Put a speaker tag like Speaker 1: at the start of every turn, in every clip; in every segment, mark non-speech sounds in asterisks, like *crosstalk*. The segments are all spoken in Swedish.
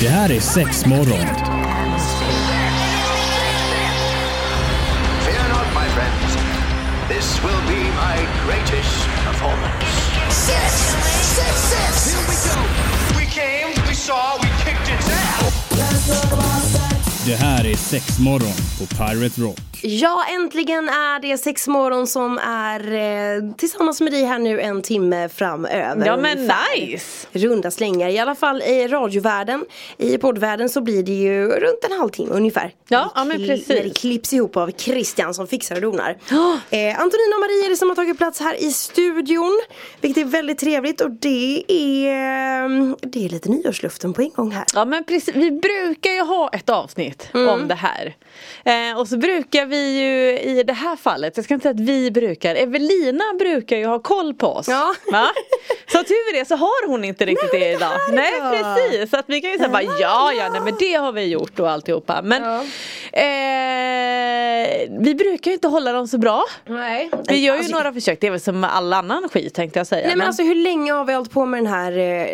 Speaker 1: Det här är sex morgon.
Speaker 2: Fear not, my friends. This will be my greatest performance.
Speaker 3: Six, six, six. Here we go.
Speaker 2: We came, we saw, we kicked its ass.
Speaker 1: Det här är sex morgon på Pirate Rock.
Speaker 4: Ja, äntligen är det sexmorgon som är eh, tillsammans med dig här nu en timme framöver.
Speaker 5: Ja men
Speaker 4: Ungefär.
Speaker 5: nice!
Speaker 4: Runda slängar, i alla fall i radiovärlden. I poddvärlden så blir det ju runt en halvtimme ungefär.
Speaker 5: Ja, ja, men
Speaker 4: Kli-
Speaker 5: precis.
Speaker 4: När det klipps ihop av Christian som fixar och donar. Eh, Antonina och Maria är det som har tagit plats här i studion. Vilket är väldigt trevligt och det är, mm, det är lite nyårsluften på en gång här.
Speaker 5: Ja men precis, vi brukar ju ha ett avsnitt
Speaker 4: Mm.
Speaker 5: om det här. Eh, och så brukar vi ju i det här fallet, jag ska inte säga att vi brukar, Evelina brukar ju ha koll på oss.
Speaker 4: Ja.
Speaker 5: Va? Så tur är det så har hon inte riktigt
Speaker 4: Nej,
Speaker 5: det
Speaker 4: men det
Speaker 5: idag.
Speaker 4: här
Speaker 5: Nej
Speaker 4: då?
Speaker 5: precis, så att vi kan ju säga bara ja ja, nej men det har vi gjort och alltihopa. Men eh, vi brukar ju inte hålla dem så bra.
Speaker 4: Nej.
Speaker 5: Vi gör ju
Speaker 4: Alltså,
Speaker 5: några försök, det är väl som med all annan skit tänkte jag säga.
Speaker 4: Nej men alltså hur länge har vi hållit på med den här eh,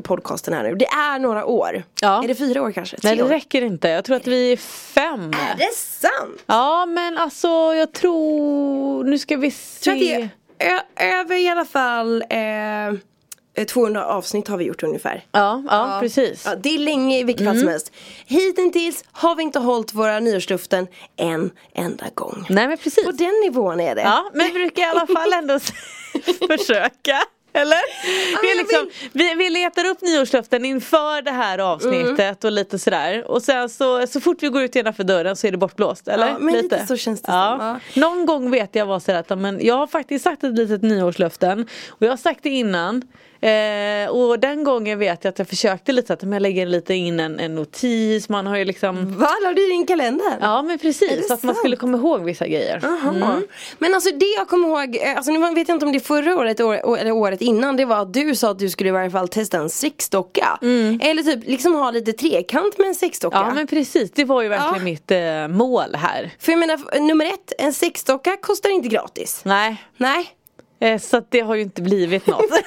Speaker 4: podcasten här nu? Det är några år.
Speaker 5: Ja.
Speaker 4: Är det fyra år kanske?
Speaker 5: Nej
Speaker 4: Tre
Speaker 5: det
Speaker 4: år?
Speaker 5: räcker inte, jag tror att vi är fem.
Speaker 4: Är det sant?
Speaker 5: Ja men alltså jag tror, nu ska vi se.
Speaker 4: Jag tror att det är ö- över i alla fall eh, 200 avsnitt har vi gjort ungefär.
Speaker 5: ja, ja, precis.
Speaker 4: Ja,
Speaker 5: Mm.
Speaker 4: det är länge i vilket fall som helst. Hittills har vi inte hållit våra nyårsluften en enda gång.
Speaker 5: Nej men precis.
Speaker 4: På den nivån är det.
Speaker 5: Ja men vi brukar i alla fall ändå
Speaker 4: *laughs*
Speaker 5: försöka. Eller? Vi,
Speaker 4: jag
Speaker 5: är liksom, vi, vi letar upp nyårslöften inför det här
Speaker 4: Mm.
Speaker 5: avsnittet och lite sådär. Och sen så, så fort vi går ut innanför dörren så är det bortblåst. Eller?
Speaker 4: Ja, men lite så känns det
Speaker 5: ja.
Speaker 4: som, ja.
Speaker 5: Någon gång vet jag var sådär att ja, men jag har faktiskt sagt ett litet nyårslöften. Och jag har sagt det innan. Eh, och den gången vet jag att jag försökte lite att men jag lägger lite in en, en notis. Man har ju liksom
Speaker 4: Va, la du i din kalender?
Speaker 5: Ja men
Speaker 4: Mm. Är det
Speaker 5: precis, så att man
Speaker 4: sant?
Speaker 5: skulle komma ihåg vissa grejer.
Speaker 4: Jaha. Men alltså det jag kommer ihåg, eh, alltså nu vet jag inte om det är förra året år- eller året innan, det var att du sa att du skulle i varje fall testa en sexdocka. Eller typ liksom ha lite trekant med en sexdocka.
Speaker 5: Mm. Ja men precis, det var ju verkligen
Speaker 4: Ja.
Speaker 5: mitt eh, mål här.
Speaker 4: För jag menar, f- nummer ett, en sexdocka kostar inte gratis.
Speaker 5: Nej,
Speaker 4: Nej.
Speaker 5: eh, så att det har ju inte blivit något. *laughs*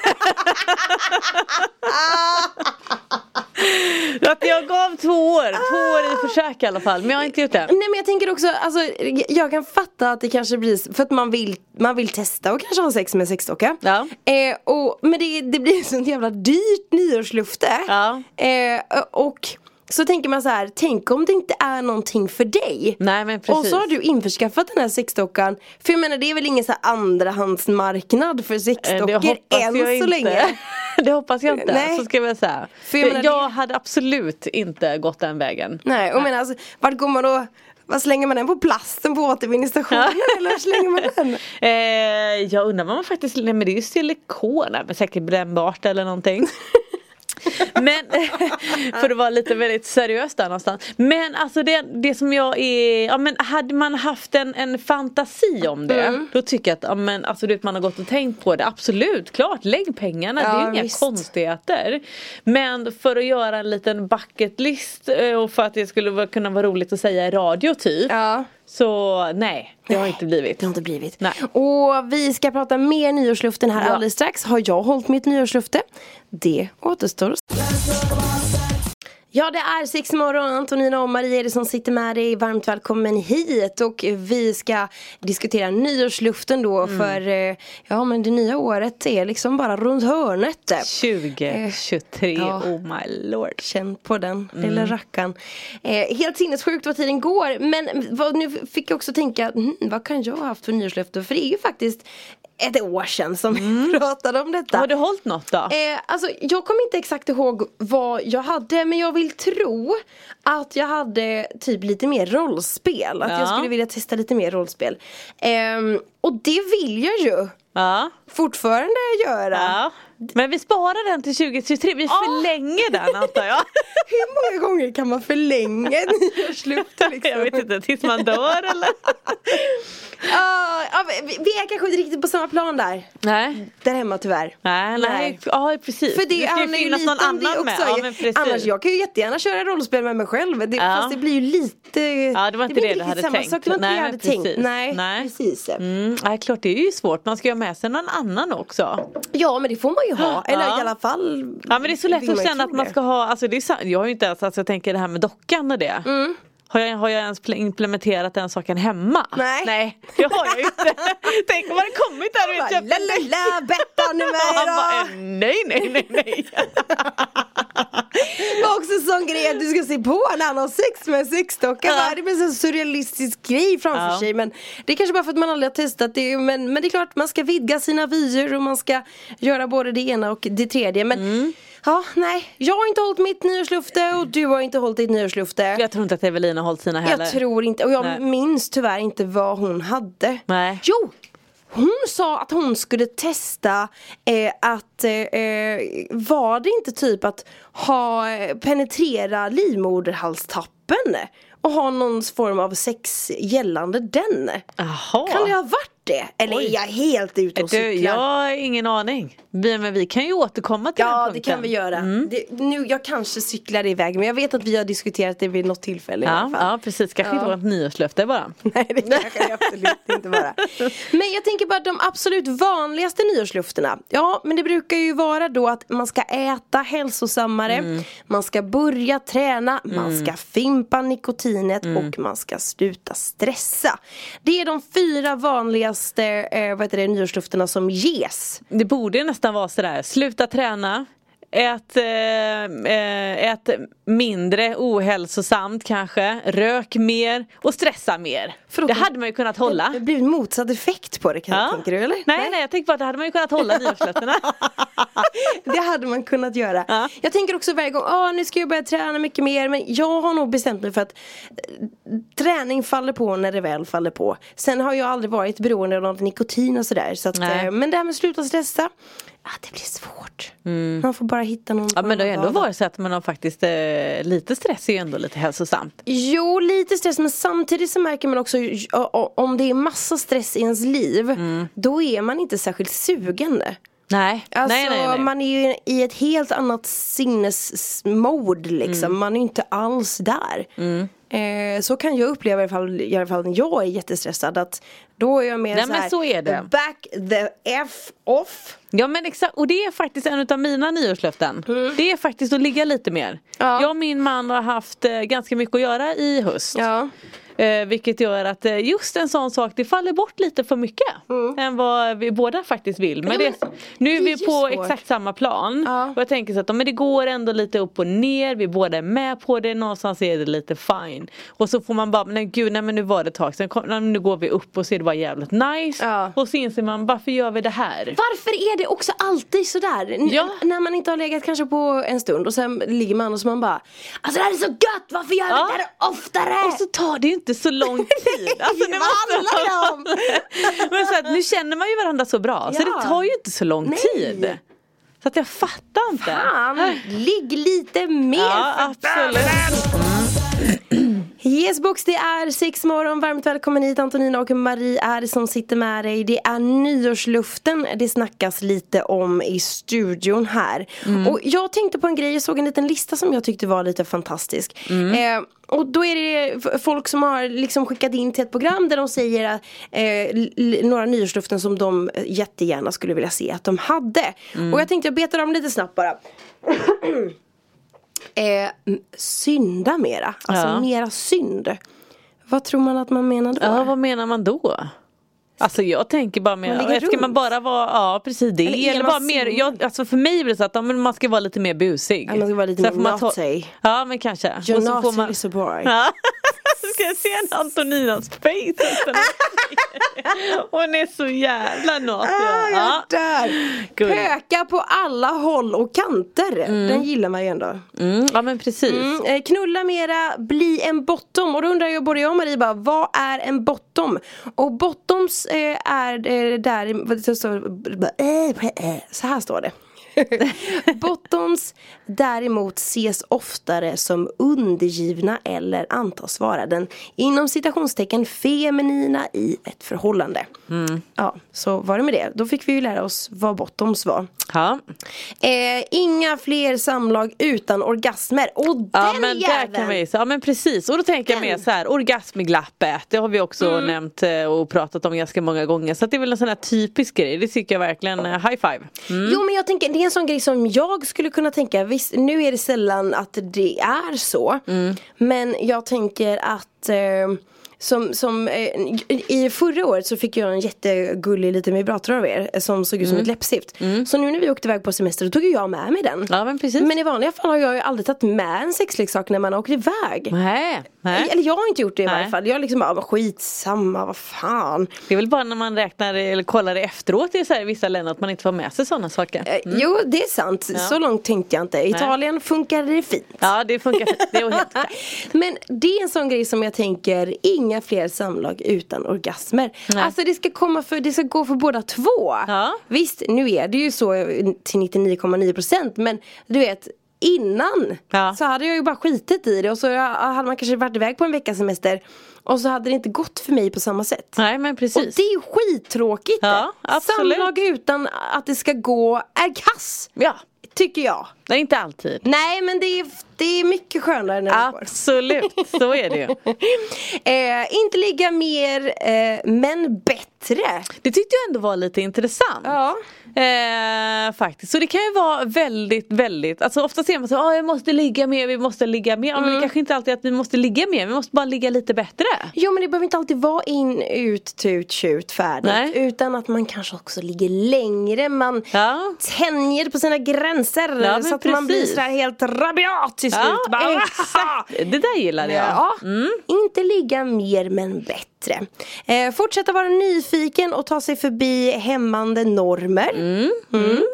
Speaker 5: så att jag gav två år, två år i försök i alla fall. Men jag har inte gjort det.
Speaker 4: Nej men jag tänker också, alltså, jag kan fatta att det kanske blir s- för att man vill, man vill testa och kanske ha sex med en sexdocka.
Speaker 5: Ja.
Speaker 4: Eh, och, men det, det blir ett sånt jävla dyrt nyårslufte.
Speaker 5: Ja.
Speaker 4: Eh, och så tänker man så här, tänk om det inte är någonting för dig.
Speaker 5: Nej men precis.
Speaker 4: Och så har du införskaffat den här sexdockan. För jag menar det är väl ingen så här andrahandsmarknad för
Speaker 5: Eh, det
Speaker 4: sexdockor
Speaker 5: hoppas
Speaker 4: än
Speaker 5: jag
Speaker 4: så
Speaker 5: inte.
Speaker 4: länge.
Speaker 5: *laughs* Det hoppas jag inte.
Speaker 4: Nej.
Speaker 5: Så ska jag säga.
Speaker 4: För
Speaker 5: För
Speaker 4: jag menar,
Speaker 5: jag
Speaker 4: det-
Speaker 5: hade absolut inte gått den vägen.
Speaker 4: Nej, och men alltså, vart går man då? Vad slänger man den på plasten på återvinningsstationen eller var slänger man den?
Speaker 5: Eh, jag undrar vad man faktiskt, nej men det är ju silikon, nej, men säkert brännbart eller någonting. *laughs* Men *laughs* för att vara lite väldigt seriös där någonstans. Men alltså det, det som jag är, ja men hade man haft en, en fantasi om det.
Speaker 4: Mm.
Speaker 5: Då tycker jag att, ja men alltså du vet man har gått och tänkt på det. Absolut, klart lägg pengarna. det
Speaker 4: Ja,
Speaker 5: är ju inga
Speaker 4: visst.
Speaker 5: konstigheter. Men för att göra en liten bucket list eh, och för att det skulle vara- kunna vara roligt att säga i radio typ.
Speaker 4: Ja.
Speaker 5: Så nej, det har
Speaker 4: Nej,
Speaker 5: inte blivit.
Speaker 4: Det har inte blivit.
Speaker 5: Nej.
Speaker 4: Och vi ska prata mer nyårsluften här
Speaker 5: Ja.
Speaker 4: alldeles strax. Har jag hållit mitt nyårslufte? Det återstår att se. Ja det är sex morgon, Antonina och Maria är det som sitter med dig. Varmt välkommen hit och vi ska diskutera nyårsluften då för eh, ja men det nya året är liksom bara runt hörnet.
Speaker 5: 2023,
Speaker 4: Eh, ja.
Speaker 5: oh my lord. Mm.
Speaker 4: Känn på den lilla rackaren. Eh, helt sinnessjukt vad tiden går. Men vad, nu fick jag också tänka, mm, vad kan jag ha haft för nyårslöfte? För det är ju faktiskt ett år sedan som vi pratade om detta.
Speaker 5: Har du hållit något Mm. då?
Speaker 4: Eh, alltså, jag kommer inte exakt ihåg vad jag hade men jag vill tro att jag hade typ lite mer rollspel. Att jag
Speaker 5: Ja.
Speaker 4: skulle vilja testa lite mer rollspel. Ehm, och det vill jag ju
Speaker 5: Ja.
Speaker 4: fortfarande göra.
Speaker 5: ja. Men vi sparar den till 2023, vi förlänger den
Speaker 4: *laughs*
Speaker 5: antar jag.
Speaker 4: Hur många gånger kan man förlänga ett nyårslöfte liksom?
Speaker 5: Jag vet
Speaker 4: *laughs*
Speaker 5: inte, tills man dör eller?
Speaker 4: Ja, Ah, ja, vi, vi är kanske inte riktigt på samma plan där.
Speaker 5: Nej.
Speaker 4: Där hemma tyvärr.
Speaker 5: Nej, nej. Ja precis.
Speaker 4: För det,
Speaker 5: ska ju
Speaker 4: han är ju
Speaker 5: finnas
Speaker 4: liten
Speaker 5: någon annan
Speaker 4: det också.
Speaker 5: med. Ja, men precis.
Speaker 4: Annars jag kan ju jättegärna köra rollspel med mig själv. Det,
Speaker 5: Ja.
Speaker 4: Fast det blir ju lite...
Speaker 5: Ja det var inte
Speaker 4: blir
Speaker 5: det, du hade
Speaker 4: samma
Speaker 5: tänkt.
Speaker 4: Sak. Det var inte
Speaker 5: Nej,
Speaker 4: det jag
Speaker 5: men
Speaker 4: hade tänkt.
Speaker 5: precis.
Speaker 4: Nej,
Speaker 5: Nej.
Speaker 4: precis.
Speaker 5: Mm, nej klart det är ju svårt, man ska ju ha med sig någon annan också.
Speaker 4: Ja men det får man ju ju
Speaker 5: *gasps*
Speaker 4: ha. Eller
Speaker 5: Ja.
Speaker 4: i alla fall
Speaker 5: Ja men det är så lätt
Speaker 4: vill
Speaker 5: att
Speaker 4: ju
Speaker 5: känna
Speaker 4: tro
Speaker 5: att man
Speaker 4: det.
Speaker 5: ska ha, alltså det är, sa- jag har ju inte ens, alltså jag tänker det här med dockan och det.
Speaker 4: Mm.
Speaker 5: Har, jag, har jag ens pl- implementerat den saken hemma?
Speaker 4: Nej.
Speaker 5: Nej det har jag ju inte. *laughs* Tänk om man hade kommit där och
Speaker 4: Bara,
Speaker 5: vet
Speaker 4: La
Speaker 5: jag.
Speaker 4: la la, Bettan nu
Speaker 5: Och
Speaker 4: med
Speaker 5: *laughs* han bara,
Speaker 4: idag!
Speaker 5: eh, nej nej nej nej. *laughs*
Speaker 4: Det var också en sån grej att du ska se på när han har sex med en sexdocka.
Speaker 5: Ja.
Speaker 4: Bara, Det blir en sån surrealistisk grej framför
Speaker 5: Ja.
Speaker 4: sig. Men det är kanske bara för att man aldrig har testat det. Men, men det är klart, man ska vidga sina vyer och man ska göra både det ena och det tredje. Men
Speaker 5: Mm.
Speaker 4: ja, nej. Jag har inte hållit mitt nyårslufte och du har inte hållit ditt nyårslufte.
Speaker 5: Jag tror inte att Evelina har hållit sina heller.
Speaker 4: Jag tror inte, och jag
Speaker 5: Nej.
Speaker 4: minns tyvärr inte vad hon hade.
Speaker 5: Nej.
Speaker 4: Jo! Hon sa att hon skulle testa eh, att, eh, eh, var det inte typ att ha, eh, penetrera livmoderhalstappen? Och ha någon form av sex gällande den?
Speaker 5: Jaha.
Speaker 4: Kan det ha varit det? Eller är
Speaker 5: Oj.
Speaker 4: jag helt ute och
Speaker 5: Du,
Speaker 4: cyklar?
Speaker 5: jag har ingen aning. Vi, men vi kan ju återkomma till den
Speaker 4: Ja det
Speaker 5: punkten.
Speaker 4: kan
Speaker 5: Mm.
Speaker 4: vi göra. Det, nu, jag kanske cyklar iväg men jag vet att vi har diskuterat det vid något tillfälle i
Speaker 5: Ja,
Speaker 4: alla fall.
Speaker 5: ja precis, kanske inte
Speaker 4: Ja.
Speaker 5: vårt nyårslöfte bara.
Speaker 4: *laughs* Nej det kanske det absolut inte vara. Men jag tänker bara de absolut vanligaste nyårslufterna. Ja men det brukar ju vara då att man ska äta hälsosammare.
Speaker 5: Mm.
Speaker 4: Man ska börja träna. Man ska fimpa nikotinet
Speaker 5: Mm.
Speaker 4: och man ska sluta stressa. Det är de fyra vanligaste eh, vad heter det, nyårslufterna som ges.
Speaker 5: Det borde ju nästan vara sådär, sluta träna Ät, eh, eh, ät mindre ohälsosamt kanske, rök mer och stressa mer.
Speaker 4: Förlåt,
Speaker 5: det hade man ju kunnat hålla.
Speaker 4: Det blir en motsatt effekt på det kan
Speaker 5: Ja.
Speaker 4: tänker du eller?
Speaker 5: Nej, nej, jag tänkte bara att det hade man ju
Speaker 4: *laughs*
Speaker 5: kunnat hålla nyårslöftena.
Speaker 4: Det hade man kunnat göra.
Speaker 5: Ja.
Speaker 4: Jag tänker också varje gång, ah, nu ska jag börja träna mycket mer. Men jag har nog bestämt mig för att eh, träning faller på när det väl faller på. Sen har jag aldrig varit beroende av något nikotin och sådär. Så att,
Speaker 5: Nej.
Speaker 4: eh, men det här med att sluta stressa, ah, det blir svårt. Man får bara hitta någon
Speaker 5: Mm. ja,
Speaker 4: form
Speaker 5: men det har
Speaker 4: av
Speaker 5: ju ändå
Speaker 4: vardag.
Speaker 5: varit så att man har faktiskt, eh, lite stress är ju ändå lite hälsosamt.
Speaker 4: Jo, lite stress men samtidigt så märker man också j- o- o- om det är massa stress i ens liv
Speaker 5: Mm.
Speaker 4: då är man inte särskilt sugen.
Speaker 5: Nej,
Speaker 4: Alltså
Speaker 5: nej, nej. nej.
Speaker 4: man är ju i ett helt annat sinnesmode liksom.
Speaker 5: Mm.
Speaker 4: Man är ju inte alls där. Eh, så kan jag uppleva i alla fall, i alla fall när jag är jättestressad. Att då är jag mer
Speaker 5: Nej,
Speaker 4: så
Speaker 5: men
Speaker 4: här,
Speaker 5: så är det.
Speaker 4: Back the F off.
Speaker 5: Ja men exakt, och det är faktiskt en av mina nyårslöften. Det är faktiskt att ligga lite mer.
Speaker 4: Mm. Ja.
Speaker 5: Jag och min man har haft eh, ganska mycket att göra i höst.
Speaker 4: Ja.
Speaker 5: Eh, vilket gör att eh, just en sån sak, det faller bort lite för mycket. Än vad vi båda faktiskt vill. Men,
Speaker 4: Mm. Ja, men
Speaker 5: det, nu är
Speaker 4: det är
Speaker 5: vi
Speaker 4: ju
Speaker 5: på
Speaker 4: svårt.
Speaker 5: exakt samma plan.
Speaker 4: Ja.
Speaker 5: Och jag tänker så att ja, men det går ändå lite upp och ner. Vi båda är med på det. Någonstans är det lite fine. Och så får man bara, nej gud nej men nu var det ett tag sedan. Kom, nej, men nu går vi upp och så är det bara jävligt nice.
Speaker 4: Ja.
Speaker 5: Och så inser man, varför gör vi det här?
Speaker 4: Varför är det också alltid sådär? N-
Speaker 5: Ja.
Speaker 4: När man inte har legat kanske på en stund och sen ligger man och så man bara Alltså det här är så gött, varför gör vi
Speaker 5: Ja.
Speaker 4: det här oftare?
Speaker 5: Och så tar det ju inte
Speaker 4: *laughs*
Speaker 5: så lång tid. Alltså,
Speaker 4: Vad handlar det om?
Speaker 5: *laughs* Men så att, nu känner man ju varandra så bra så
Speaker 4: Ja.
Speaker 5: det tar ju inte så lång
Speaker 4: Nej.
Speaker 5: tid. Så att jag fattar inte.
Speaker 4: Fan, ligg lite mer
Speaker 5: Ja,
Speaker 4: för
Speaker 5: absolut.
Speaker 4: Yes box, det är sex morgon. Varmt välkommen hit Antonina och Marie är som sitter med dig. Det är nyårsluften det snackas lite om i studion här. Och jag tänkte på en grej, jag såg en liten lista som jag tyckte var lite fantastisk. Eh, och då är det f- folk som har liksom skickat in till ett program där de säger att, eh, l- l- några nyårsluften som de eh, jättegärna skulle vilja se att de hade. Och jag tänkte jag betar dem lite snabbt bara. Eh, m- synda mera, alltså
Speaker 5: Ja.
Speaker 4: mera synd. Vad tror man att man menar då?
Speaker 5: Ja, vad menar man då? Alltså jag tänker bara
Speaker 4: Man
Speaker 5: med,
Speaker 4: ligger
Speaker 5: ska man
Speaker 4: runt.
Speaker 5: bara vara, ja precis det.
Speaker 4: Eller
Speaker 5: Eller,
Speaker 4: är det
Speaker 5: bara
Speaker 4: man
Speaker 5: mer,
Speaker 4: singel?
Speaker 5: jag, alltså för mig blir det så att ja, men man ska vara lite mer busig.
Speaker 4: Ja, man ska vara lite
Speaker 5: Så här
Speaker 4: mer
Speaker 5: får man ta-
Speaker 4: nazi.
Speaker 5: Ja men kanske.
Speaker 4: You're
Speaker 5: Och så
Speaker 4: not
Speaker 5: får man-
Speaker 4: really so bright.
Speaker 5: Ja. *laughs* Ska jag se en Antoninas face? efter den här? *laughs* Hon är så jävla natig.
Speaker 4: Ah, jag dör!
Speaker 5: Gull.
Speaker 4: Pöka på alla håll och kanter. Den gillar man ju ändå.
Speaker 5: Mm, ja men precis.
Speaker 4: Mm, eh, knulla mera, bli en bottom. Och då undrar jag både jag och Marie bara, vad är en bottom? Och bottoms eh, är eh, där, vad det står, eh, eh, så här står det. *laughs* Bottoms däremot ses oftare som undergivna eller antas vara den inom citationstecken feminina i ett förhållande. Ja, så var det med det. Då fick vi ju lära oss vad bottoms var.
Speaker 5: Ja.
Speaker 4: Eh, inga fler samlag utan orgasmer. Och den
Speaker 5: ja men där
Speaker 4: jäveln!
Speaker 5: kan man ju, ja men precis och då tänker jag mer så här orgasmglappet det har vi också
Speaker 4: Mm.
Speaker 5: nämnt eh, och pratat om ganska många gånger så att det är väl en sån här typisk grej det tycker jag verkligen eh, high five.
Speaker 4: Jo men jag tänker det är en sån grej som jag skulle kunna tänka, visst nu är det sällan att det är så.
Speaker 5: Mm.
Speaker 4: Men jag tänker att eh, som, som, eh, I förra året så fick jag en jättegullig liten vibrator av er eh, som såg ut som
Speaker 5: Mm.
Speaker 4: ett läppstift. Så nu när vi åkte iväg på semester då tog ju jag med mig den.
Speaker 5: Ja, men precis.
Speaker 4: Men i vanliga fall har jag ju aldrig tagit med en sexleksak när man har åkt iväg.
Speaker 5: Nej, nej.
Speaker 4: Eller jag har inte gjort det i
Speaker 5: Nej.
Speaker 4: varje fall. Jag har liksom bara, "Men skitsamma, vad fan.
Speaker 5: Det är väl bara när man räknar eller kollar efteråt i så här, vissa länder att man inte får med sig sådana saker.
Speaker 4: Eh, Jo, det är sant. Så långt tänkte jag inte. Italien funkar det fint.
Speaker 5: Ja det funkar fint.
Speaker 4: *laughs*
Speaker 5: Det är helt okej.
Speaker 4: Men det är en sån grej som jag tänker, inga fler samlag utan orgasmer.
Speaker 5: Nej.
Speaker 4: Alltså det ska, komma för, det ska gå för båda två.
Speaker 5: Ja.
Speaker 4: Visst, nu är det ju så till 99,9% men du vet Innan
Speaker 5: Ja.
Speaker 4: så hade jag ju bara skitit i det och så hade man kanske varit iväg på en veckas semester Och så hade det inte gått för mig på samma sätt
Speaker 5: Nej men
Speaker 4: Och
Speaker 5: precis.
Speaker 4: det är ju skittråkigt
Speaker 5: Ja, absolut.
Speaker 4: Samlag utan att det ska gå är kass
Speaker 5: Ja,
Speaker 4: Tycker jag
Speaker 5: det är inte alltid.
Speaker 4: Nej men det är, det är mycket skönare när det går *laughs*
Speaker 5: Absolut, så är det ju.
Speaker 4: Eh, inte ligga mer, eh, men bättre.
Speaker 5: Det tyckte jag ändå var lite intressant.
Speaker 4: Ja.
Speaker 5: Eh, faktiskt. Så det kan ju vara väldigt, väldigt, alltså ofta ser man så ah, jag måste ligga mer, vi måste ligga mer. Ja, Men det kanske inte alltid är att vi måste ligga mer, vi måste bara ligga lite bättre.
Speaker 4: Jo men det behöver inte alltid vara in, ut, tut, tjut, färdigt.
Speaker 5: Nej.
Speaker 4: Utan att man kanske också ligger längre. Man
Speaker 5: Ja.
Speaker 4: tänjer på sina gränser.
Speaker 5: men
Speaker 4: så att man blir
Speaker 5: precis.
Speaker 4: sådär helt rabiat till slut. Bara,
Speaker 5: exakt. "Ah, *laughs* Det där gillade jag.
Speaker 4: Ja,
Speaker 5: Mm.
Speaker 4: inte ligga mer men bättre. Eh, fortsätta vara nyfiken och ta sig förbi hämmande normer. Mm.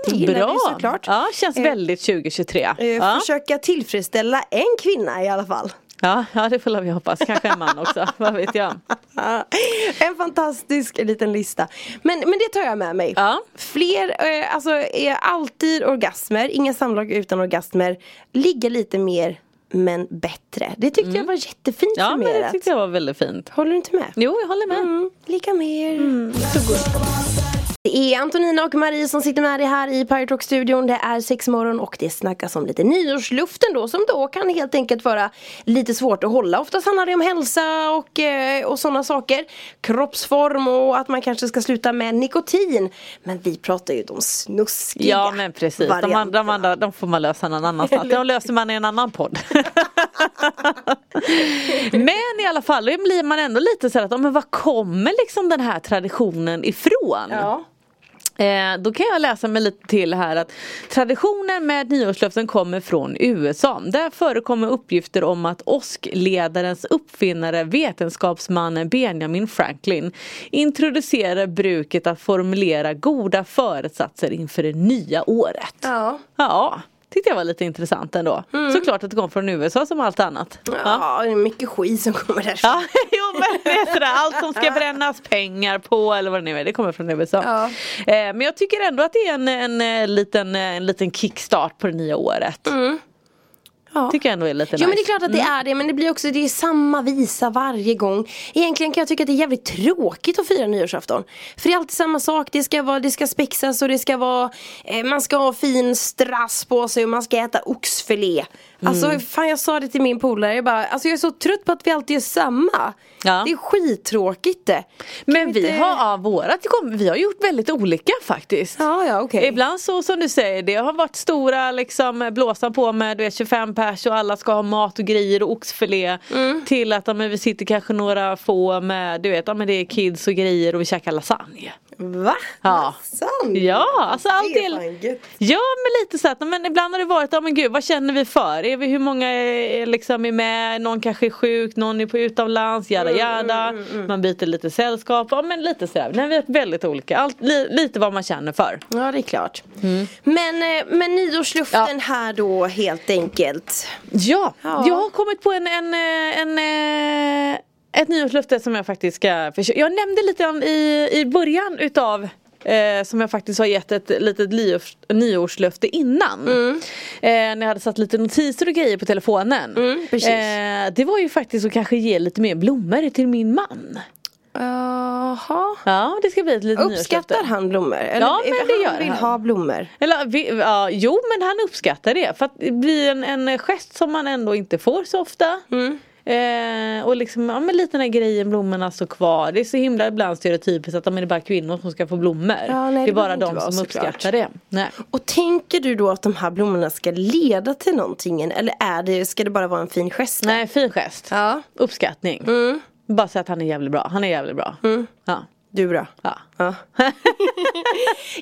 Speaker 4: gillar vi
Speaker 5: Bra.
Speaker 4: såklart.
Speaker 5: Ja, känns väldigt 2023.
Speaker 4: Eh,
Speaker 5: ja.
Speaker 4: Försöka tillfredsställa en kvinna i alla
Speaker 5: *laughs*
Speaker 4: fall.
Speaker 5: Ja, ja, det får vi hoppas. Kanske en man också, *laughs* vad vet jag.
Speaker 4: En fantastisk liten lista. Men, men det tar jag med mig.
Speaker 5: Ja.
Speaker 4: Fler, eh, alltså är alltid orgasmer, inga samlag utan orgasmer. Ligga lite mer men bättre. Det tyckte jag var jättefint
Speaker 5: Mm. Ja, men
Speaker 4: summerat.
Speaker 5: det tyckte jag var väldigt fint.
Speaker 4: Håller du inte med?
Speaker 5: Jo, jag håller med.
Speaker 4: Mm, lika mer.
Speaker 5: Mm.
Speaker 4: Det är Antonina och Marie som sitter med dig här i Pirate Rock-studion. Det är sexmorgon och det snackas om lite nyårsluften då som då kan helt enkelt vara lite svårt att hålla. Oftast handlar det om hälsa och, eh, och sådana saker. Kroppsform och att man kanske ska sluta med nikotin. Men vi pratar ju de snuskiga
Speaker 5: Ja men precis, de, andra- de,
Speaker 4: varianterna.
Speaker 5: andra, de får man lösa någon annanstans. De löser man i en annan podd. *laughs* men i alla fall, då blir man ändå lite så här att, "Ja, men var kommer liksom den här traditionen ifrån?
Speaker 4: Ja.
Speaker 5: Eh, då kan jag läsa mig lite till här att traditionen med nyårslöften kommer från USA. Där förekommer uppgifter om att åskledarens uppfinnare vetenskapsmannen Benjamin Franklin introducerar bruket att formulera goda föresatser inför det nya året.
Speaker 4: Ja. Mm.
Speaker 5: Ja, tyckte jag var lite intressant ändå. Såklart att det kom från USA som allt annat.
Speaker 4: Ja, det är mycket skit som kommer därifrån.
Speaker 5: Ja, *laughs* jo, men det är sådär, allt som ska brännas pengar på eller vad det nu är, det kommer från USA.
Speaker 4: Ja.
Speaker 5: Eh, men jag tycker ändå att det är en, en, eh, liten, eh, en liten kickstart på det nya året.
Speaker 4: Ja.
Speaker 5: Tycker jag ändå är lite
Speaker 4: Jo
Speaker 5: nice. Mm.
Speaker 4: men det är klart att det är det men det blir också det är samma visa varje gång Egentligen kan jag tycka att det är jävligt tråkigt att fira nyårsafton För det är alltid samma sak, det ska, vara, det ska spexas och det ska vara eh, Man ska ha fin strass på sig och man ska äta oxfilé
Speaker 5: Mm.
Speaker 4: Alltså fan jag sa det till min polare, jag bara Alltså jag är så trött på att vi alltid gör samma
Speaker 5: Ja.
Speaker 4: Det är skittråkigt det
Speaker 5: Men vi
Speaker 4: inte-
Speaker 5: har, ja, vårat, det kom- vi har gjort väldigt olika faktiskt.
Speaker 4: Ja ja okej
Speaker 5: Ibland så som du säger, det har varit stora liksom, blåsan på med du vet, 25 pers och alla ska ha mat och grejer och oxfilé.
Speaker 4: Mm.
Speaker 5: Till att ja, men vi sitter kanske några få med du vet, ja, men det är kids och grejer och vi käkar lasagne.
Speaker 4: Va?
Speaker 5: Ja.
Speaker 4: Sant?
Speaker 5: Ja, alltså allt
Speaker 4: Det är
Speaker 5: är-
Speaker 4: fan gött.
Speaker 5: Ja men lite så att, men ibland har det varit, ja men gud vad känner vi för? Är vi, hur många är, liksom är med? Någon kanske är sjuk, någon är på utomlands, jada
Speaker 4: Mm,
Speaker 5: jada. Man byter lite sällskap, ja men lite sådär. Nej vi är väldigt olika, allt, li, lite vad man känner för.
Speaker 4: Ja det är klart.
Speaker 5: Mm.
Speaker 4: Men, eh, men nyårsluften här då helt enkelt.
Speaker 5: Ja,
Speaker 4: Ja.
Speaker 5: jag har kommit på en, en, eh, en, eh, ett nyårslöfte som jag faktiskt ska försöka. Jag nämnde lite grann i, i början utav Eh, som jag faktiskt har gett ett litet nyårs, nyårslöfte innan.
Speaker 4: Mm.
Speaker 5: Eh, när jag hade satt lite notiser och grejer på telefonen.
Speaker 4: Mm, precis.
Speaker 5: Eh, det var ju faktiskt att kanske ge lite mer blommor till min man.
Speaker 4: Jaha.
Speaker 5: Ja det ska bli ett litet nyårslöfte.
Speaker 4: Uppskattar han blommor? Eller,
Speaker 5: Ja, men
Speaker 4: han
Speaker 5: det gör
Speaker 4: vill
Speaker 5: han.
Speaker 4: ha blommor.
Speaker 5: Eller, vi, ja,
Speaker 4: Mm.
Speaker 5: jo men han uppskattar det för att det blir en, en gest som man ändå inte får så ofta. Eh, och liksom, ja men lite den här grejen blommorna står kvar. Det är så himla ibland stereotypiskt att de är det bara kvinnor som ska få blommor.
Speaker 4: Ja, nej,
Speaker 5: det
Speaker 4: det
Speaker 5: är bara
Speaker 4: behöver inte
Speaker 5: de
Speaker 4: vara,
Speaker 5: som
Speaker 4: såklart.
Speaker 5: uppskattar det. Nej.
Speaker 4: Och tänker du då att de här blommorna ska leda till någonting? Eller är det, ska det bara vara en fin gest?
Speaker 5: nej, fin gest.
Speaker 4: Ja. Mm.
Speaker 5: Uppskattning. Bara säga att han är jävligt bra. Han är jävligt bra. Ja.
Speaker 4: Du är bra.
Speaker 5: Ja.
Speaker 4: Mm. Ja.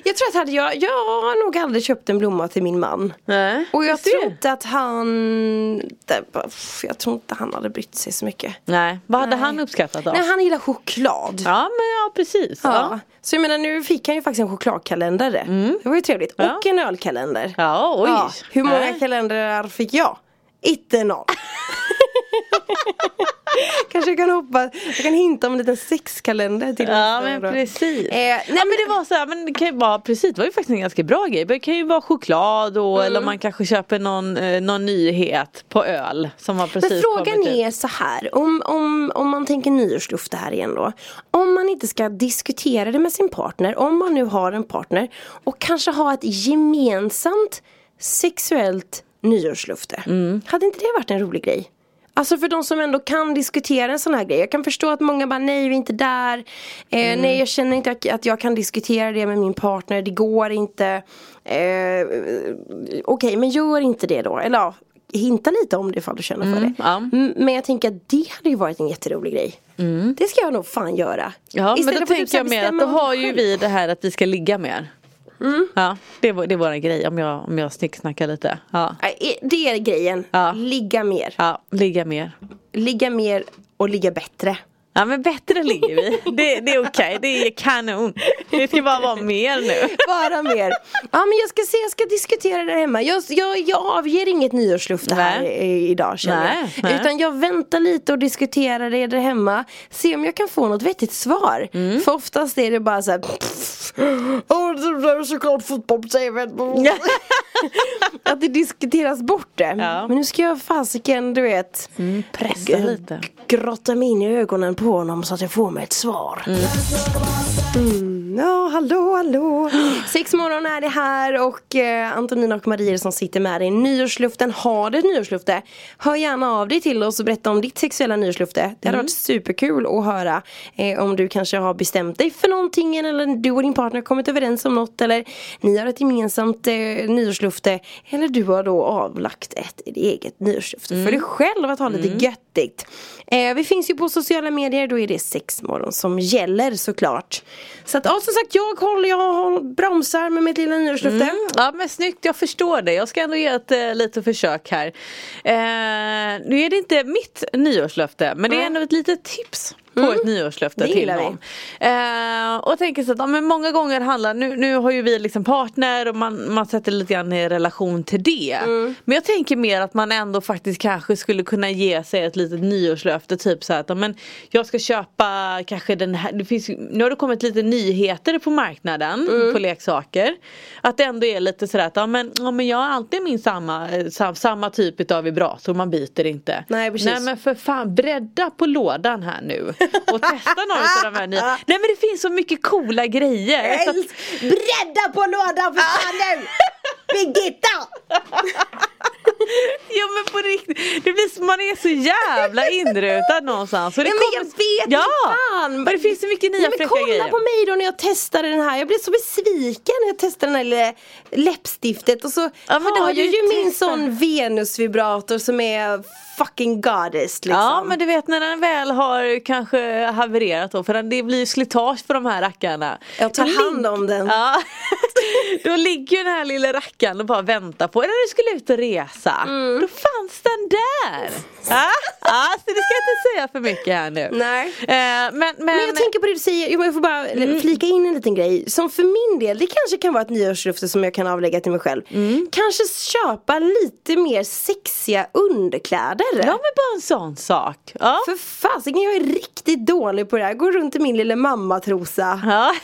Speaker 4: jag tror att hade jag, jag har nog aldrig köpt en blomma till min man.
Speaker 5: Nej.
Speaker 4: Och jag
Speaker 5: Visst är
Speaker 4: tror
Speaker 5: det?
Speaker 4: inte att han, det bara- pff, jag tror inte han hade brytt sig så mycket.
Speaker 5: Nej. Vad hade
Speaker 4: Nej.
Speaker 5: han uppskattat då?
Speaker 4: Nej han gillar choklad.
Speaker 5: Ja men ja precis.
Speaker 4: Ja.
Speaker 5: Ja.
Speaker 4: Så jag menar nu fick han ju faktiskt en chokladkalender. Det var ju trevligt.
Speaker 5: Mm. Ja.
Speaker 4: Och en ölkalender.
Speaker 5: Ja, oj.
Speaker 4: Ja, Hur många
Speaker 5: Nej.
Speaker 4: kalendrar fick jag? Inte
Speaker 5: *laughs*
Speaker 4: någon. Kanske jag kan hoppa, jag kan hinta om en liten sexkalender till
Speaker 5: Ja
Speaker 4: nästa
Speaker 5: men
Speaker 4: år då.
Speaker 5: precis.
Speaker 4: Eh, nej
Speaker 5: ja, men det var så här, men det kan ju vara, precis det var ju faktiskt en ganska bra grej. Det kan ju vara choklad och,
Speaker 4: Mm.
Speaker 5: eller man kanske köper någon, eh, någon nyhet på öl som har precis
Speaker 4: Men frågan
Speaker 5: kommit ut.
Speaker 4: är så här, om, om, om man tänker nyårslufte här igen då. Om man inte ska diskutera det med sin partner, om man nu har en partner och kanske ha ett gemensamt sexuellt nyårslufte. Hade inte det varit en rolig grej? Alltså för de som ändå kan diskutera en sån här grej. Jag kan förstå att många bara nej vi är inte där. Eh, Nej jag känner inte att- att jag kan diskutera det med min partner. Det går inte. Eh, Okej men gör inte det då. Eller ja, hinta lite om det ifall du känner för det.
Speaker 5: Mm, ja.
Speaker 4: M- Men jag tänker att det hade ju varit en jätterolig grej. Det ska jag nog fan göra.
Speaker 5: Mm. Ja men
Speaker 4: Istället
Speaker 5: då
Speaker 4: för typ
Speaker 5: tänker
Speaker 4: så här
Speaker 5: jag mer att
Speaker 4: bestämma
Speaker 5: då har
Speaker 4: allt
Speaker 5: ju
Speaker 4: själv. Mm.
Speaker 5: vi det här att vi ska ligga mer. Ja, det är, vår- det är våran grej om jag, om jag snicksnackar lite. Ja.
Speaker 4: Nej, Det är grejen.
Speaker 5: Ja.
Speaker 4: Ligga mer.
Speaker 5: ja, ligga mer.
Speaker 4: Ligga mer och ligga bättre.
Speaker 5: Ja men bättre
Speaker 4: *laughs*
Speaker 5: ligger vi. Det, det är okej, det är kanon. Det ska bara vara mer nu.
Speaker 4: *laughs* Bara mer. Ja men jag ska se, jag ska diskutera det hemma. Jag, jag, jag avger inget nyårslufte här
Speaker 5: Nej.
Speaker 4: i- idag känner
Speaker 5: Nej,
Speaker 4: jag.
Speaker 5: nej.
Speaker 4: Utan jag väntar lite och diskuterar det där hemma. Se om jag kan få något vettigt svar.
Speaker 5: Mm.
Speaker 4: För oftast är det bara
Speaker 5: *laughs*
Speaker 4: så här. pff, Åh, det där är såklart fotboll på TV. *laughs* Att det diskuteras bort det.
Speaker 5: Ja. Mm,
Speaker 4: Men nu ska jag fasiken, du vet.
Speaker 5: Pressa lite.
Speaker 4: Grotta mig in i ögonen på honom så att jag får mig ett svar.
Speaker 5: Mm.
Speaker 4: Ja, hallå, hallå. Sex morgon är det här och eh, Antonina och Maria som sitter med dig i nyårsluften. Har du ett nyårslufte? Hör gärna av dig till oss och berätta om ditt sexuella nyårslufte. Det hade varit superkul att höra eh, om du kanske har bestämt dig för någonting eller du och din partner har kommit överens om något eller ni har ett gemensamt eh, nyårslufte eller du har då avlagt ett eget nyårslufte för dig själv att ha lite göttigt. Eh, vi finns ju på sociala medier, då är det sexmorgon som gäller såklart. Så att, ja, som sagt, jag håller, jag håller, bromsar med mitt lilla nyårslufte.
Speaker 5: Mm. Ja men snyggt, jag förstår det. Jag ska ändå ge ett eh, litet försök här. Eh, nu är det inte mitt nyårslöfte men det är ändå ett litet tips på ett nyårslöfte
Speaker 4: Mm. Det
Speaker 5: till
Speaker 4: gillar vi.
Speaker 5: någon. Eh, och tänker så att ja, men många gånger handlar, nu, nu har ju vi liksom partner och man, man sätter lite grann i relation till det.
Speaker 4: Mm.
Speaker 5: Men jag tänker mer att man ändå faktiskt kanske skulle kunna ge sig ett litet nyårslöfte typ så här att ja, men jag ska köpa kanske den här, det finns, ju- nu har det kommit lite nyheter på marknaden
Speaker 4: Mm.
Speaker 5: på leksaker. Att det ändå är lite sådär att ja, men, ja, men jag har alltid min samma, eh, sam, samma typ av vibrator, man byter inte.
Speaker 4: Nej, precis.
Speaker 5: Nej men men för fan bredda på lådan här nu och testa några av de här
Speaker 4: *laughs*
Speaker 5: nya. Nej men det finns så mycket coola grejer. Så att,
Speaker 4: Bredda på lådan för fan nu! Birgitta!
Speaker 5: ja men på riktigt, det blir, man är så jävla inrutad någonstans. Och det
Speaker 4: Ja, men jag vet
Speaker 5: ja,
Speaker 4: inte fan.
Speaker 5: Och det finns så mycket nya
Speaker 4: Ja, men
Speaker 5: fräcka
Speaker 4: kolla
Speaker 5: grejer.
Speaker 4: på mig då när jag testade den här. Jag blev så besviken när jag testade den här lilla läppstiftet. Och så
Speaker 5: men det
Speaker 4: har
Speaker 5: har
Speaker 4: jag
Speaker 5: du
Speaker 4: ju
Speaker 5: ju
Speaker 4: min
Speaker 5: testat.
Speaker 4: sån Venus-vibrator som är fucking goddess liksom.
Speaker 5: Ja men du vet när den väl har kanske havererat då för den- det blir ju slitage för de här rackarna.
Speaker 4: Jag tar
Speaker 5: Då lig-
Speaker 4: hand om den.
Speaker 5: Ja. *laughs* Då ligger ju den här lilla rackaren och bara väntar på när du skulle ut och resa.
Speaker 4: Mm.
Speaker 5: Då fanns
Speaker 4: *laughs*
Speaker 5: den där! Ja, ja, så det ska jag inte säga för mycket här nu.
Speaker 4: Nej.
Speaker 5: Eh, men, men, Mm.
Speaker 4: Men jag tänker på det du säger, Jo, men jag får bara flika in en liten grej. Som för min del, det kanske kan vara ett nyårslöfte som jag kan avlägga till mig själv.
Speaker 5: Mm.
Speaker 4: Kanske köpa lite mer sexiga underkläder.
Speaker 5: Ja men bara en sån sak. Ja.
Speaker 4: För fasiken, jag är riktigt dålig på det här. Jag går runt i min lilla mammatrosa.
Speaker 5: Ja. *laughs*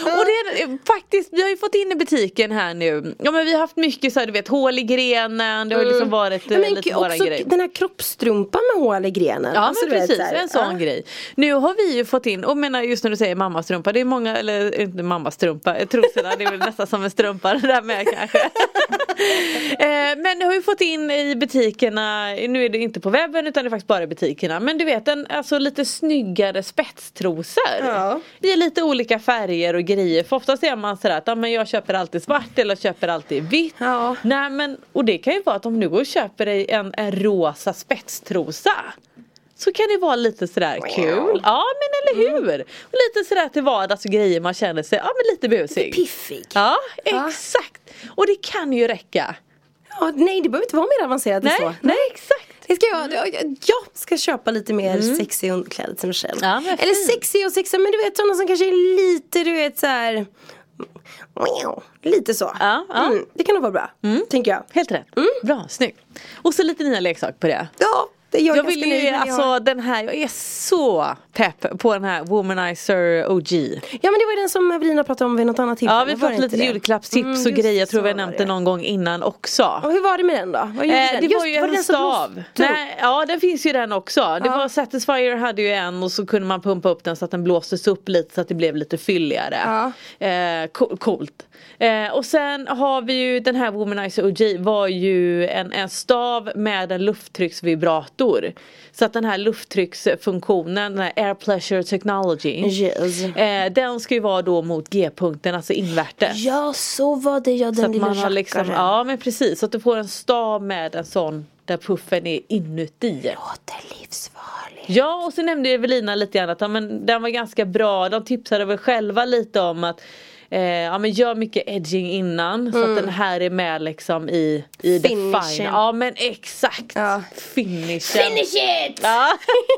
Speaker 5: Och det är faktiskt, vi har ju fått in i butiken här nu. Ja men vi har haft mycket så här, du vet hål i grenen, det har ju liksom
Speaker 4: Mm.
Speaker 5: varit
Speaker 4: Ja,
Speaker 5: eh,
Speaker 4: men
Speaker 5: lite
Speaker 4: k-
Speaker 5: våran
Speaker 4: också
Speaker 5: grej.
Speaker 4: den här kroppstrumpan med hål i grenen.
Speaker 5: Ja
Speaker 4: Alltså,
Speaker 5: men
Speaker 4: du vet,
Speaker 5: precis,
Speaker 4: så här,
Speaker 5: en sån
Speaker 4: ja.
Speaker 5: grej. Nu har vi ju fått in, och menar just när du säger mammastrumpa, det är många, eller inte mammastrumpa, eh, trosorna det är väl nästan som en strumpa det där med kanske. eh, *laughs* Eh, Men du har ju fått in i butikerna, nu är det inte på webben utan det är faktiskt bara i butikerna. Men du vet en alltså, lite snyggare spetstrosor.
Speaker 4: Ja.
Speaker 5: I lite olika färger och grejer. För oftast är man sådär att "Ja, men jag köper alltid svart eller jag köper alltid vitt.
Speaker 4: Ja.
Speaker 5: Nej, men, och det kan ju vara att om du går och köper dig en, en rosa spetstrosa. Så kan det vara lite sådär kul. Ja men eller
Speaker 4: Mm.
Speaker 5: hur. Och lite sådär till vardags och grejer man känner sig, ja men lite busig.
Speaker 4: Piffig.
Speaker 5: Ja,
Speaker 4: Ja.
Speaker 5: exakt. Och det kan ju räcka.
Speaker 4: Ja, nej det behöver inte vara mer avancerat än
Speaker 5: Nej,
Speaker 4: så.
Speaker 5: nej, exakt.
Speaker 4: Det ska jag, jag, jag ska köpa lite mer sexig underkläder till mig själv.
Speaker 5: Mm. Ja, men
Speaker 4: Eller
Speaker 5: fint.
Speaker 4: sexig och sexig men du vet sådana som kanske är lite du vet så här. Lite så.
Speaker 5: Ja, ja.
Speaker 4: Mm, det kan nog vara bra. Tänker jag.
Speaker 5: Helt rätt. Bra, snyggt. Och så lite nya leksaker på det.
Speaker 4: Ja, det är jag,
Speaker 5: Jag,
Speaker 4: ganska
Speaker 5: vill
Speaker 4: nöjd
Speaker 5: ju,
Speaker 4: med det jag
Speaker 5: alltså
Speaker 4: har.
Speaker 5: den här, jag är så pepp på den här Womanizer OG.
Speaker 4: Ja men det var ju den som Evelina pratade om vid något annat tillfälle.
Speaker 5: Ja vi
Speaker 4: var det
Speaker 5: pratade lite
Speaker 4: inte det?
Speaker 5: julklappstips
Speaker 4: Mm,
Speaker 5: och
Speaker 4: just
Speaker 5: grejer, jag tror vi har
Speaker 4: så
Speaker 5: nämnt
Speaker 4: var
Speaker 5: det någon gång innan också.
Speaker 4: Och hur var det med den då? Vad gjorde
Speaker 5: Eh,
Speaker 4: den?
Speaker 5: det
Speaker 4: Just,
Speaker 5: var ju
Speaker 4: det
Speaker 5: en
Speaker 4: den som
Speaker 5: stav.
Speaker 4: blåste upp?
Speaker 5: Nej, ja den finns ju den också. Det
Speaker 4: Ja.
Speaker 5: var Satisfyer hade ju en och så kunde man pumpa upp den så att den blåstes upp lite så att det blev lite fylligare. Eh, co- coolt. Eh, och sen har vi ju den här Womanizer OG var ju en, en stav med en lufttrycksvibrator. Så att den här lufttrycksfunktionen, den här air pleasure technology.
Speaker 4: Yes.
Speaker 5: Eh, den ska ju vara då mot G-punkten, alltså invärtes.
Speaker 4: Ja så var det ja
Speaker 5: Så
Speaker 4: den
Speaker 5: att
Speaker 4: lilla
Speaker 5: man har liksom,
Speaker 4: rackaren.
Speaker 5: ja men precis, så att du får en stav med en sån där puffen är inuti.
Speaker 4: Låter livsfarlig.
Speaker 5: Ja och så nämnde ju Evelina lite grann att ja, men den var ganska bra, de tipsade väl själva lite om att eh, ja, men gör mycket edging innan så att den här är med liksom i, i the
Speaker 4: Mm. Finishen.
Speaker 5: fine. Ja men exakt!
Speaker 4: Ja.
Speaker 5: Finishen!
Speaker 4: Finish it!
Speaker 5: Ja.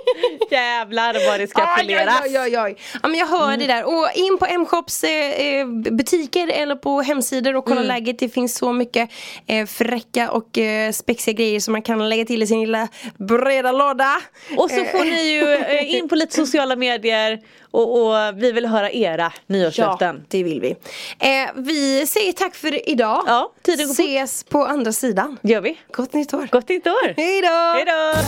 Speaker 5: *laughs* Jävlar vad det ska Mm. poleras!
Speaker 4: Oj, oj, oj, oj. Ja, men jag hör det där. Och in på M-shops eh, eh, butiker eller på hemsidor och kolla
Speaker 5: Mm.
Speaker 4: läget. Det finns så mycket eh, fräcka och eh, spexiga grejer som man kan lägga till i sin lilla breda låda.
Speaker 5: Och så får ni
Speaker 4: *laughs*
Speaker 5: ju eh, in på lite sociala medier och, och vi vill höra era
Speaker 4: Ja,
Speaker 5: nyårslöften.
Speaker 4: det vill vi. Eh, vi säger tack för idag.
Speaker 5: Ja, tiden går fort.
Speaker 4: Ses på andra sidan.
Speaker 5: Gör vi?
Speaker 4: Gott nytt år.
Speaker 5: Gott nytt år!
Speaker 4: Hej då!
Speaker 5: Hej då!